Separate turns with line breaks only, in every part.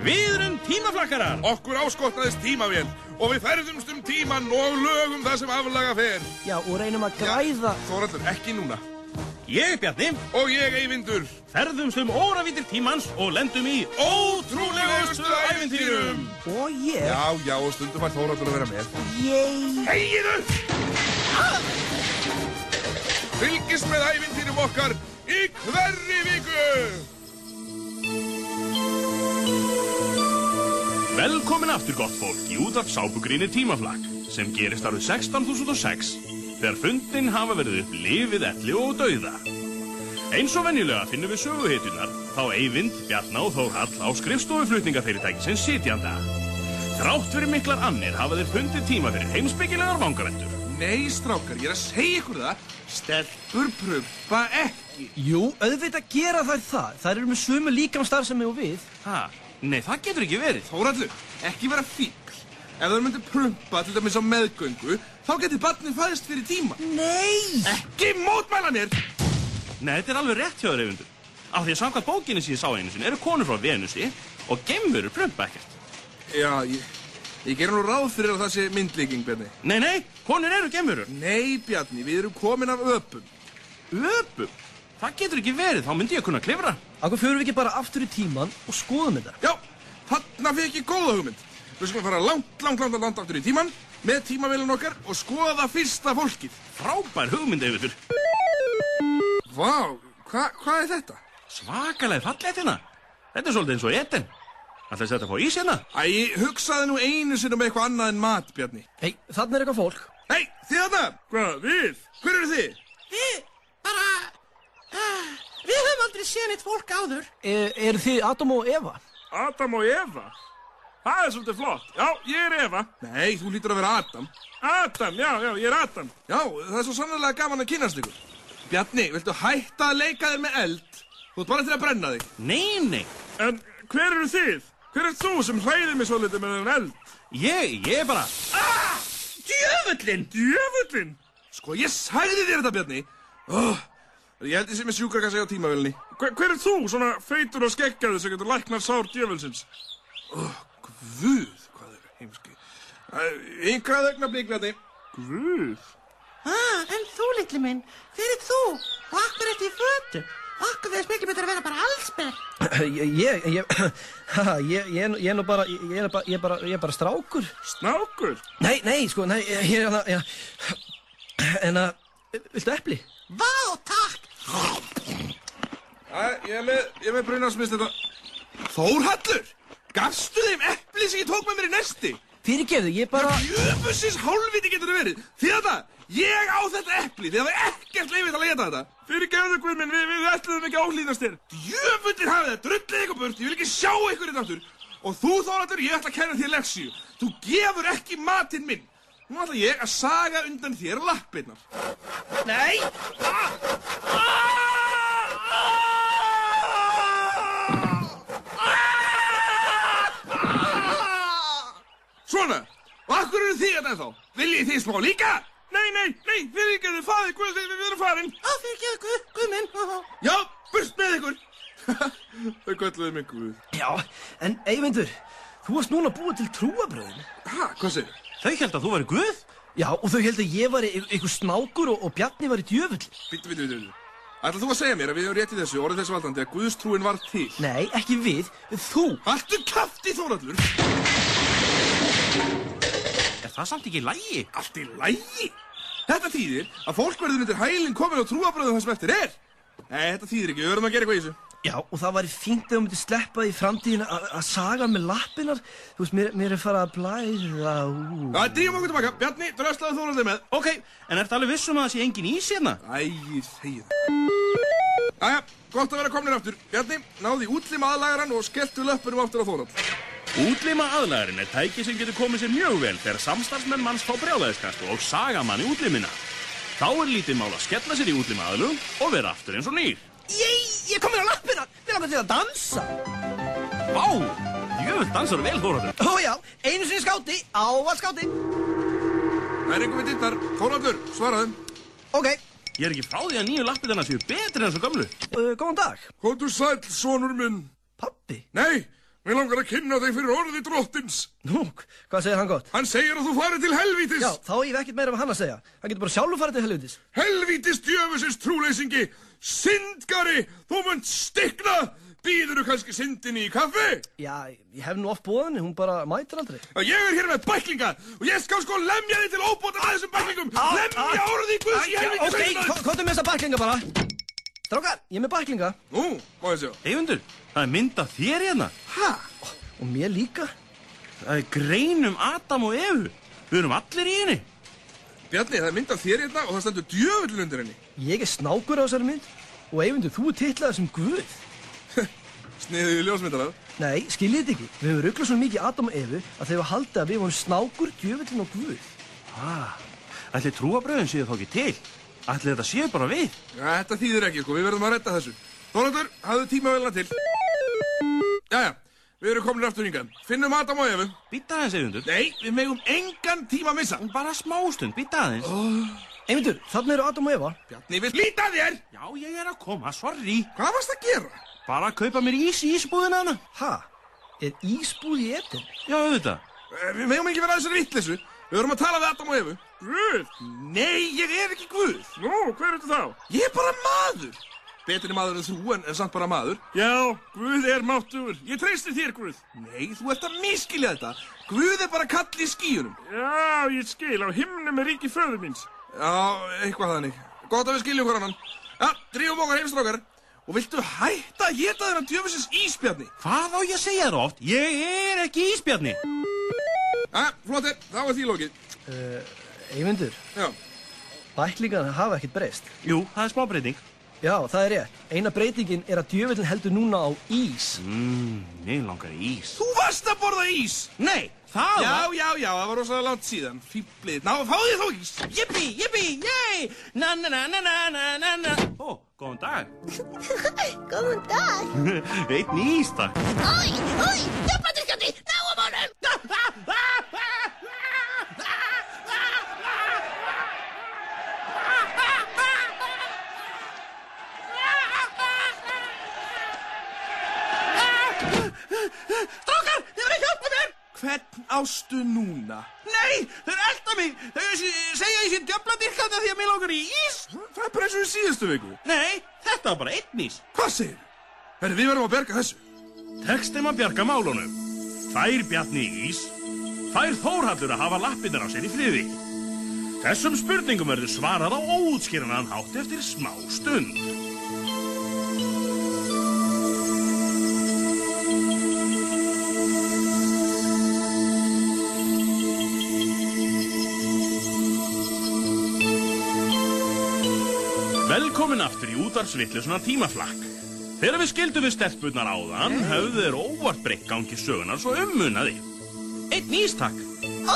Við erum tímaflakkarar
Okkur áskotnaðist tímavél og við ferðumst um tíman og lögum það sem aflaga fer.
Já, og reynum að græða.
Þorallur, ekki núna.
Ég, Bjarni,
Og ég, Eyvindur,
ferðumst um óravítir tímans og lendum í ótrúlegustu æfintýrum
Og ég,
Já, já, og stundum var Þorallur að vera með.
ég,
Hegiðu! Fylgist með æfintýrum okkar í hverri viku!
Velkomin aftur gott fólk í út af sápugrínir tímaflakk sem gerist árið 16.006 þegar fundin hafa verið upp lifið elli og dauða. Eins og venjulega finnum við söguhetjunar þá Eyvind, Bjarná og Þórhall á skrifstofuflutningafyrirtæki sem sitjanda. Þrátt fyrir miklar annir hafa þeir fundið tíma fyrir heimsbyggilegar vangavendur.
Nei, strákar, ég er að segja ykkur það. Stelpur prumpa ekki.
jú, auðvitað gera þær það. Þær eru með sumu líkamstarfsemi og við.
Ha? Nei, það getur ekki verið.
Þórallur, ekki vera fíkl. Ef það myndir prumpa til dæmis á meðgöngu, þá getur barnið fæðist fyrir tíma.
Nei!
Ekki mótmæla mér!
Nei, þetta er alveg rétt hjá þér, Eyvindur. Af því að samkvæmt bókinni sem ég sá einu sinni eru konur frá Venusi og gemurur prumpa ekkert.
Já, ég, ég ger nú ráð fyrir að það sé myndlíking, Bjarni.
Nei, nei, konur eru gemurur.
Nei, Bjarni, við erum komin af öpum.
Öpum? Það getur ekki verið, þá myndi ég að kunna klifra.
Akkur fyrir við ekki bara aftur í tíman og skoðum þetta?
Já, þarna fekk ég góða hugmynd. Við skulum fara langt, langt, langt, langt aftur í tíman með tímavélun okkar og skoða fyrsta fólkið.
Frábær hugmynd, Eyvindur.
Vá, hva, hvað er þetta?
Svakalega fallegt hérna. Þetta er svolítið eins og etin. Alltaf þetta að fá ís hérna.
Æ, hugsaði nú einu sinni um eitthvað annað en mat, Bjarni.
Hei, þarna er eitthvað fólk.
Nei, þið þarna! Hvað, við? Hver eru þið?
ah, Við höfum aldrei séð neitt fólk áður.
E, eru þið Adam og Eva?
Adam og Eva? Það er svolítið flott. Já, ég er Eva.
Nei, þú lítur að vera Adam.
Adam, já, já, ég er Adam.
Já, það er svo sannlega gaman að kynast ykkur. Bjarni, viltu hætta að leika þér með eld? Þú ert bara til að brenna þig.
Nei, nei.
En hver eru þið? Hver er þú sem hræðir mig svolítið með þennan eld?
Ég, ég er bara... Ah! Djöfullin!
Djöfullin!
Sko, ég sagði þér þetta, Bjarni. Oh, ég held ég sem er sjúkrakassi á tímavilni.
Hver, hver er þú, svona feitur og skeggjaður sem getur læknar sár djöfulsins?
Guð, hvað er heimski. Yngrað augna blikvæði.
Guð.
Ah, en þú, litli minn, hver er þú? Og akkur ert í fötum? Akkur veist miklu betur að vera bara allsberg.
Ég, ég, ég, haha, ég, ég, er nú- ég er nú bara, ég ég er bara, ég er bara, ég er bara strákur.
Snákur.
Nei, nei, sko, nei, ég er hana, já, en að, viltu epli?
Vá, takk!
Æ, ég er með, ég er með brunasmist þetta. Þórhallur, gafstu þeim epli sem ég tók með mér í nesti?
Fyrirgefðu, ég bara,
Jöfusins hálfviti getur þið verið. Því að það, ég á þetta epli. Því að það er ekkert leifið að leta þetta.
Fyrir gefðu, Guðminn, við, við ætlum ekki að ólínast þér.
Jöfundir hafið það, drullið ykkur burt. Ég vil ekki sjá ykkur þetta aftur. Og þú, Þórhallur, ég ætla að kenna þér leksíu. Þú gefur ekki matinn minn. Nú ætla ég að saga undan þér lappirnar. Svona, og akkur eru þið þetta þá? Viljið þið smá líka?
Nei, nei, nei, fyrir gefðu, faði, Guð, við, við erum farin.
Á, fyrir geðu, guð, guð minn.
Já, burt með ykkur! Þau gölluðu mig guð.
já, en Eyvindur, þú varst núna búið til trúabröðin.
Ha, hvað segir?
Þau held að þú væri guð?
Já, og þau held að ég var einhver snákur og, og Bjarni var í djöfull.
Bittu, bittu, bittu, bittu. Ætla þú að segja mér að við höfum rétt í þessu orðið þessu valdandi að guðstrúin var til?
Nei, ekki við, þú.
Haltu kafti, Þórallur!
Er það samt ekki lægi?
Allt í lægi! Þetta þýðir að fólk verður undir hælinn komin á trúabröðum það sem eftir er. Nei, þetta þýðir ekki, við verðum að gera eitthvað í þessu.
Já, og það var fínt að þú myndir sleppa í framtíðin að saga með lappinar. Þú veist, mér, mér er farað að blæða út.
Það dýjum okkur tilbaka. Bjarni, dröslaðu Þórallur með.
Ok, en ertu alveg viss um að það sé engin ís hérna?
Æ, ég segi það. Æja, gott að vera komnir aftur. Bjarni, náði útlima aðlagaran og skelltu löppunum aftur á Þórald.
Útlima aðlæðurinn er tæki sem getur komið sér mjög vel þegar samstarfsmenn manns fá brjálæðiskast og saga mann í útlimina. Þá er lítið mál að skella sér í útlima aðlugum og vera aftur eins og nýr.
Ég, ég kom mér á lappinar. Mér langar til að dansa.
Vá, jöfull dansar vel Þórhaldur.
Ó já, einu sinni skáti, ávald skáti.
Það er einhver við dittar. Þóraldur, svaraðum.
Ok,
Ég er ekki frá því að nýju lappið hennar séu betri en svo gamlu.
uh, góðan dag.
Kóndur sæll, sonur minn.
Pappi,
Nei, Mér langar að kynna þig fyrir orði drottins.
Nú, hvað segir hann gott?
Hann segir að þú farið til helvítis.
Já, þá hef ég ekkert meira um hann að segja. Hann getur bara sjálfur farið til helvitis.
Helvítis djöfusins trúleysingi. Syndgari, þú munt stikna. Býður þú kannski syndinni í kaffi?
Já, ég hef nú oft búið henni, hún bara mætir aldrei.
Já, ég er hér með bæklinga og ég skal sko lemja þig til óbóta að þessum bæklingum.
Á, á.
lemja orðið í guðs í helvítis.
Ok, ko- komdu með þessa bæklinga bara. Strákar, ég er með bæklinga.
Nú, má ég sjá.
Eyvindur, það er mynd af þér hérna.
Og mér líka.
Það er grein um Adam og Evu. Við erum allir í henni.
Bjarni, það er mynd af þér hérna og það stendur djöfullin undir henni.
Ég er snákur á þessari mynd. Og Eyvindur, þú er titlaður sem guð.
Sniðu í ljósmyndarað.
Nei, skiljið þetta ekki. Við höfum rugglað svona mikið Adam og Evu að þeir hafa haldið að við vorum snákur, djöfullin og guð.
Ætli trúabröðin séu þá ekki til. Ætli þetta séu bara við.
Já, þetta þýðir ekki, sko, við verðum að redda þessu. Þorvaldur, hafðu tímavélina til. Jæja, við erum komin aftur hingað. Finnum Adam og Efu.
Býta aðeins, Eyvindur.
Nei, við megum engan tíma að missa.
Bara smástund, býta aðeins.
Eyvindur, þarna eru Adam og Eva.
Bjarni, við líta þér!
Já, ég er að koma, sorry.
Hvað varst að gera?
Bara að kaupa mér ís í ísbúðina hana.
Ha? Er ísbúð í etin?
Já, auðvitað.
Eh, Við megum ekki vera að þessari vittlesu. Við verðum að tala við Adam og Efu. Guð? Nei, ég er ekki Guð.
Nú, hver er þetta þá?
Ég er bara maður. Betri maður en þú, en, en samt bara maður.
Já, Guð er máttugur. Ég treysti þér, Guð.
Nei, þú ert að miskilja þetta. Guð er bara kall í skíunum.
Já, ég skil. Á himnum er ríki föður míns.
Já, eitthvað þannig. Gott að við skiljum hver annan. Já, drífum okkar heimstrákar. Og viltu hætta að geta þennan djöfisins íspjarni?
Hvað á ég að segja þér oft? Ég er ekki ísbjarni.
Já, flottir, þá er því lókið.
Eyvindur,
Já,
bæklingarna hafa ekkert breyst.
Jú, það er smá breyting.
Já, það er rétt. Eina breytingin er að djöfullin heldur núna á ís.
Mmm, mér langar í ís.
þú varst að borða ís.
Nei, það
Já,
var...
já, já, það var rosalega langt síðan. Fýblið, ná, fáðu þér þó ekki. ís.
Jippi, jippi, yey! Na, na, na, na, na, na, na, na. Ó, góðan dag.
Góðan dag!
Eitt nýs, takk.
Æ, æ, jafnbættir skjöndi! Náum honum!
Strákar, þið verið að hjálpa mér!
Hvern ástu núna?
Nei, þeir elda mig. Þeir se- segja ég sé djöfla dyrkandi því að mér langar í ís.
Það er bara eins og í síðustu viku.
Nei, þetta var bara eitt nýs.
Hvað segir þú? Herri, við verðum að berga þessu.
Tekst þeim að bjarga málunum. Fær Bjarni í ís. Fær Þórhallur að hafa lappinnar á sér í friði. Þessum spurningum verður svarað á óútskýranaðan hátt eftir smá stund. Velkomin aftur í útarsvillusuna tímaflakk. Þegar við skildum við stelpurnar áðan, höfðu þeir óvart breytt gangi sögunar svo um ummunaði. Eitt nýstak,
Æ,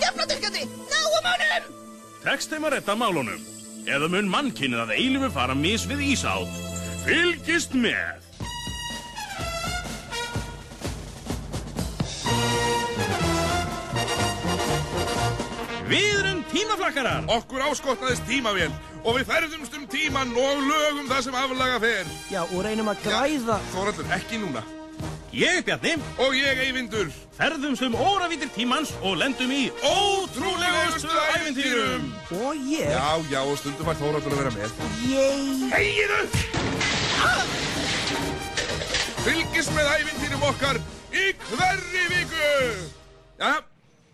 jafnbættir skjöndi! Náum honum!
tekst þeim að retta málunum. Eða mun mannkynnið að eilifu fara mis við Ísátt. Fylgist með! Við erum tímaflakkarar!
Okkur áskotnaðist tímavél og við ferðumst um tíman og lögum það sem aflaga fer.
Já, og reynum að græða.
Þorallur, ekki núna.
Ég, Bjarni,
Og ég, Eyvindur,
ferðumst um óravítir tímans og lendum í
ótrúlegustu ævintýrum.
Og ég,
Já, já, og stundum var Þóraldur að vera með.
ég,
Hegiðu! Fylgist með ævintýrum okkar í hverri viku! Já,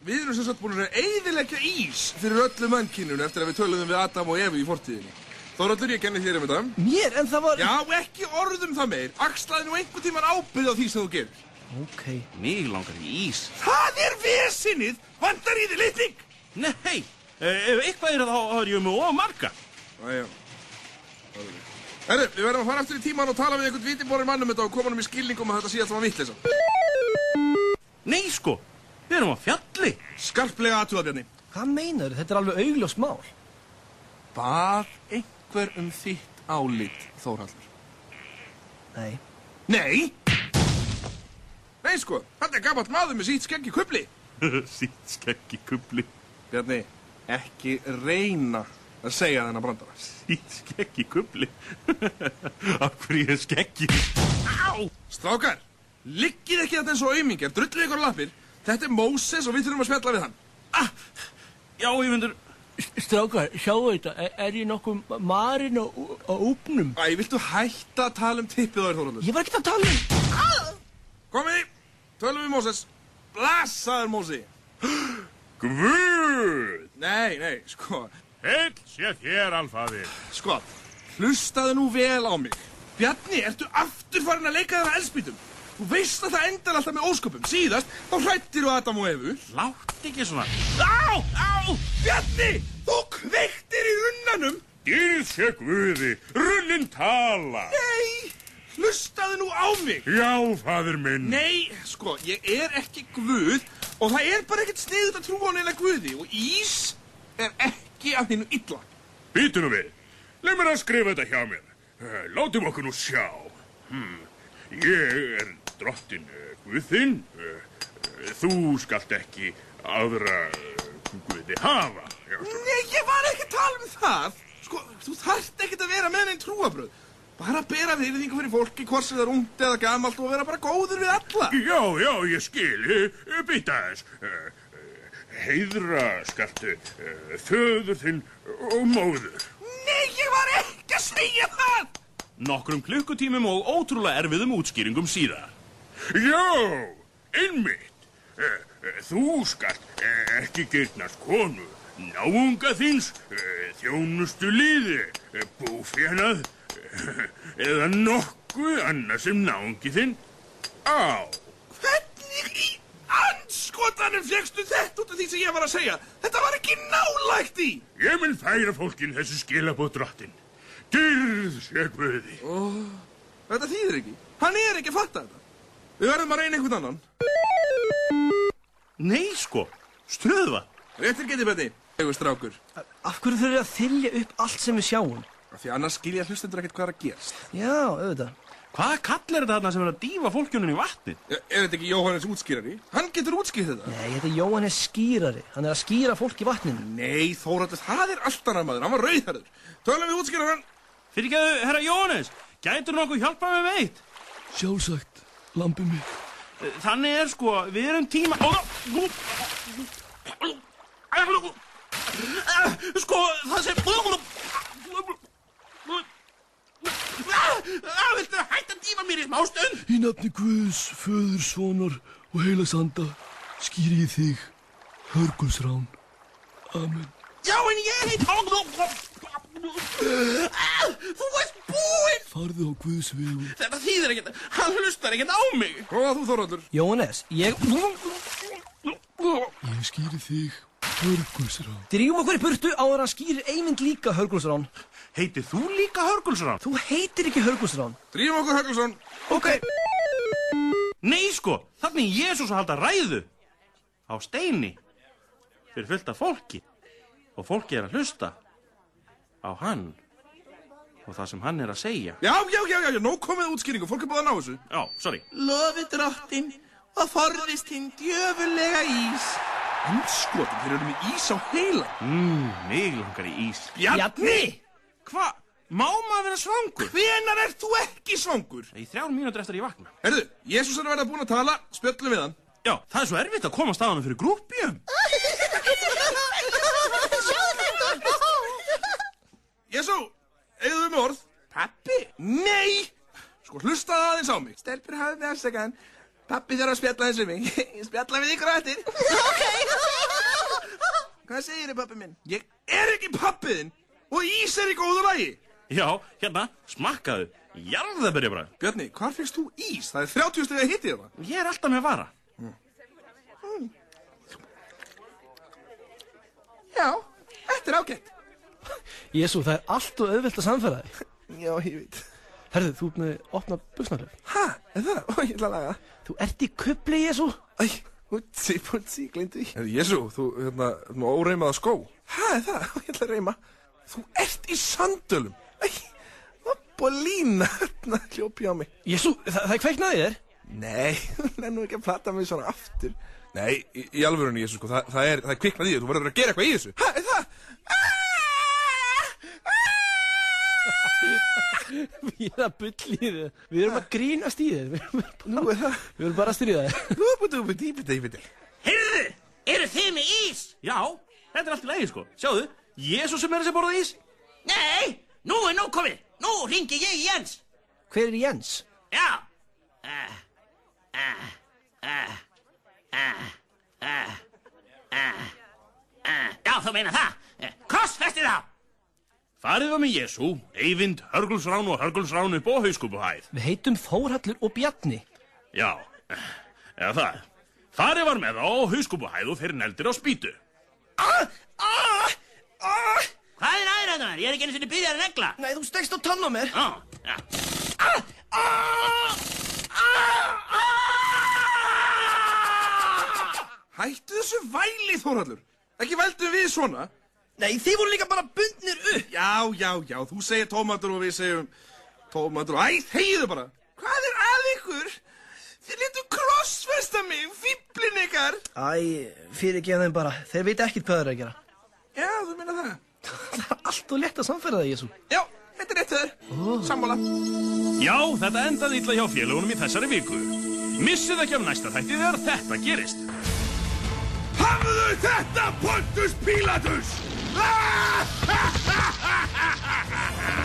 við erum sem sagt búin að eiðilegja ís fyrir öllu mannkynun eftir að við töluðum við Adam og Evu í fortíðinni. Þóraldur, ég kenni þér um þetta.
mér, en það var...
Já, ekki orðum það meir. Axlaði nú einhvern tíman ábyrð á því sem þú gerir.
Ok,
Mig langar í ís.
Það er vesinnið! Vandar í þið litning!
Nei, eh, ef eitthvað er þá þá er ég með ofarmarka.
Æja. Herru, við verðum að fara aftur í tíman og tala við einhvern vitiborinn mannum þetta og koma hann í skilningum að þetta sé alltaf að vitleisa.
Nei, sko, við erum á fjalli.
Skarplega aðtúða, Bjarni.
hvað meinar þetta? er alveg augljóst mál.
Bað einhver um þitt álit, Þórhallur?
Nei,
Nei! Nei, sko, hann er gammalt maður með sítt skeggi kubli.
Sitt skeggi kubli,
Bjarni, ekki reyna að segja þennan brandara.
sitt skeggi kubli. Af hverju er skeggi? Á!
Strákar, Liggið ekki þetta eins og aumingjar, drullið ykkur á lappir. Þetta er Móses og við þurfum að spjalla við hann. Ah,
Já, Eyvindur,
Strákar, sjáu þetta, er, er ég nokkuð marinn á, á úpnum?
æ, viltu hætta að tala um tippið á þér, Þóraldur?
Ég var ekkert að tala um.
Komiði, tölum við Móses. Blasaður Mósi.
Guð,
Nei, nei, sko,
heill sé þér, alfaðir.
sko, hlustaðu nú vel á mig. Bjarni, ertu aftur farin að leika þér að elspýtum? Þú veist að það endar alltaf með ósköpum. Síðast, þá hrættir þú Adam og Evu.
Látt ekki svona.
Á, á, Bjarni, þú kveiktir í runnanum.
Dýrð sé Guði, rullin tala.
Nei, hlustaðu nú á mig.
Já, faðir minn.
Nei, sko, ég er ekki guð og það er bara ekkert sniðut að trúa á neina guði og ís er ekki af hinn illa.
Býtu nú við. Leif mér að skrifa þetta hjá mér. Eh, Látum okkur nú sjá. Hmm. Ég er drottin eh, Guð þinn. Eh, eh, Þú skalt ekki aðra eh, Guði hafa. Já, svona.
Nei, ég var ekki að tala um það. Sko, þú þarft ekkert að vera með neinn trúabröð. Bara að bera virðingu fyrir fólki, hvort sem það er ungt eða gamalt og vera bara góður við alla.
já, já, ég skil. Eh, eh, Býta þess. Heiðra skaltu eh, föður þinn og móður.
Nei, ég var ekki að segja það.
Nokkrum klukkutímum og ótrúlega erfiðum útskýringum síðar. Já, einmitt. Eh, eh, Þú skalt eh, ekki getnast konu, náunga þins, eh, þjónustu liði, eh, búfénað eh, eða nokkuð annað sem náungi þinn á.
Hvernig í anskotanum fegstu þetta út af því sem ég var að segja? Þetta var ekki nálægt í.
Ég mun færa fólkin þessu skilabóð drottin. Dyrð sé guði.
Þetta þýðir ekki. Hann er ekki að fatta þetta. Við verðum að reyna einhvern annan.
Nei sko, ströðva.
Réttir getið betni, hefur strákur.
Af hverju þurfum við að þylja upp allt sem við sjáum?
Af Því annars skilja hlustendur ekkert hvað er að gerast.
Já, auðvitað.
Hvað kallar þetta þarna sem er að dífa fólkjunum í vatnið?
Er er þetta ekki Jóhannes útskýrari? Hann getur útskýrt þetta.
Nei, þetta er Jóhannes skýrari. Hann er að skýra fólk í vatninu.
Nei, Þóraldur, það er allt annað maður. Hann var rauðherður. Tölum við útskýra hann.
Fyrir ekki að herra Jóhannes, gætur nokkuð hjálpað með veitt?
Sjálfsagt, lambið mitt.
Þannig er sko, við erum tíma Ó, nú Sko, það sem Ah, Viltu hætt að dífa mér í smá stund?
Í nafni Guðs, föður, svonar og heila sanda skýri ég þig, hörgulsrán. Amen.
Já, en ég heit Ah, Þú veist búinn
Farðu á Guðs vegu.
Þetta þýðir ekkert, hann hlustar ekkert á mig
Góða þú, Þóraldur.
Jóhannes, ég...
Ég skýri þig, hörgulsrán.
Drýjum okkur í burtu á að hann skýrir einmitt líka Hörgulsrán.
Heitir þú líka Hörgulsson?
Þú heitir ekki Hörgulsrán.
Drífum okkur, Högglesson.
Ok.
Nei sko, þannig Jésús að halda ræðu á steini fyrir fullt af fólki og fólki er að hlusta á hann og það sem hann er að segja
Já, já, já, já, já, nóg komið útskýringu. Fólk er búið að ná þessu.
Já, sorry
Lofi drottin og forðist hinn djöfulega ís.
Anskotin, þeir eru með ís á heila.
mm, Mig langar í ís
Bjarni!
Hva? Má maður vera svangur?
Hvenar ert þú ekki svangur?
Í þrjár mínútur eftir að ég vakna
Herðu, Jésús er að verða búin að tala. Spjöllum við hann.
Já, það er svo erfitt að koma staðanum fyrir grúpjum
Sjáðu þetta
Jésú, eigðu við með orð.
Pappi?
Nei! Sko, hlusta aðeins á mig.
Stelpur hafið með afsakaðan. Pappi þarf að spjalla eins og mig. Ég spjalla við ykkur á eftir. Hvað segir þið pappi minn?
Ég er ekki pappiðinn og ís er í góðu lagi.
Já, hérna, smakkaðu Jarðaberi bara
Björni, hvar fyrst þú ís? Það er 30 steg að hitti það.
Ég er alltaf með vara
Já, þetta er ágætt.
Jésu, það er allt og auðvelt að samfæra þig.
Já, ég veit.
Herðu, þú ert með að opna buksnarlöf.
Ha, er það? Ó, ég ætla að laga það.
Þú ert í kupli, Jésu.
Æ, útsi, pútsi, glindu því.
Herri, Jésu, þú, hérna, nú óreymaða skó.
Ha, er það? Ó, ég ætla að reyma.
Þú ert í sandölum.
Æ, hopp og lína. Þarna hljópi á mig.
Jésu, það, það er kveiknaði þér.
Nei, hún er nú ekki að plata mig svona aftur.
Nei, í, í alvörunni, Jésu, sko, það, það er, það er kviknað í þér. Þú verður að gera eitthvað í þessu.
Ha, er það? Ah! Ah!
Við erum að bull í þið Við erum að grínast í þið Við erum bara-
Nú er það.
við erum bara að stríða þið
Búbudú, búbudú, búbudú, búbudú.
Heyrðu!
Eru þið með ís?
Já, þetta er allt í lagi sko. Sjáðu, Jésús sem er þessi borða ís.
Nei, nú er nóg komið. Nú ringi ég í Jens.
Hver er Jens?
Já, já þú meina það. Krossfesti þá.
Farið var með Jésú, Eyvind, Hörgulsrán og Hörgulsrán upp á hauskúpuhæð.
Við heitum Þórhallur og Bjarni.
Já, eða það. Farið var með þá á hauskúpuhæð og fyrir neldir á spýtu.
Ah!
Hvað er aðræðunar? Ég er ekki einu sinni byggðið að regla.
Nei, þú stekst á tann á mér.
Já, já.
Ah, ah!
Hættu þessu væli, Þórhallur. Ekki vældum við svona.
Nei, þið voru líka bara bundnir upp.
Já, já, já, þú segir tómatur og við segjum tómatur. Æ, þegiðu bara. Hvað er að ykkur? Þið letum krossfesta mig, fýblin ykkar.
Æ, fyrir gefa þeim bara. Þeir veit ekkert hvað þeir eru að gera.
Já, þú meina það.
Það er allt og létt að samferða það, Jésu.
Já, þetta er rétt þaður. Oh. Sammála.
Já, þetta endaði illa hjá félagunum í þessari viku. Missið ekki af næsta þætti þegar þetta gerist.
Hafðu þetta, Pontus Pilatus! Ah!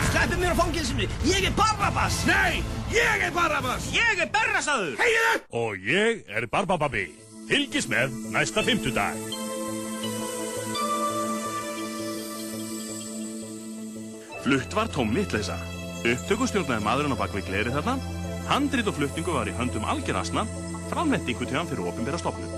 Sleppið mér á fangilsinu. Ég er Barrabas.
Nei, ég er Barabbas!
Ég er berrasaður!
Hegiðu!
Og ég er Barbababi. Fylgis með næsta fimmtudag. Flutt var tóm vitleysa. Upptöku stjórnaði maðurinn á bakvið gleri þarna. Handrit og flutningu var í höndum algjörasna. Framletti ykkur til hann fyrir ofinbera stofnum.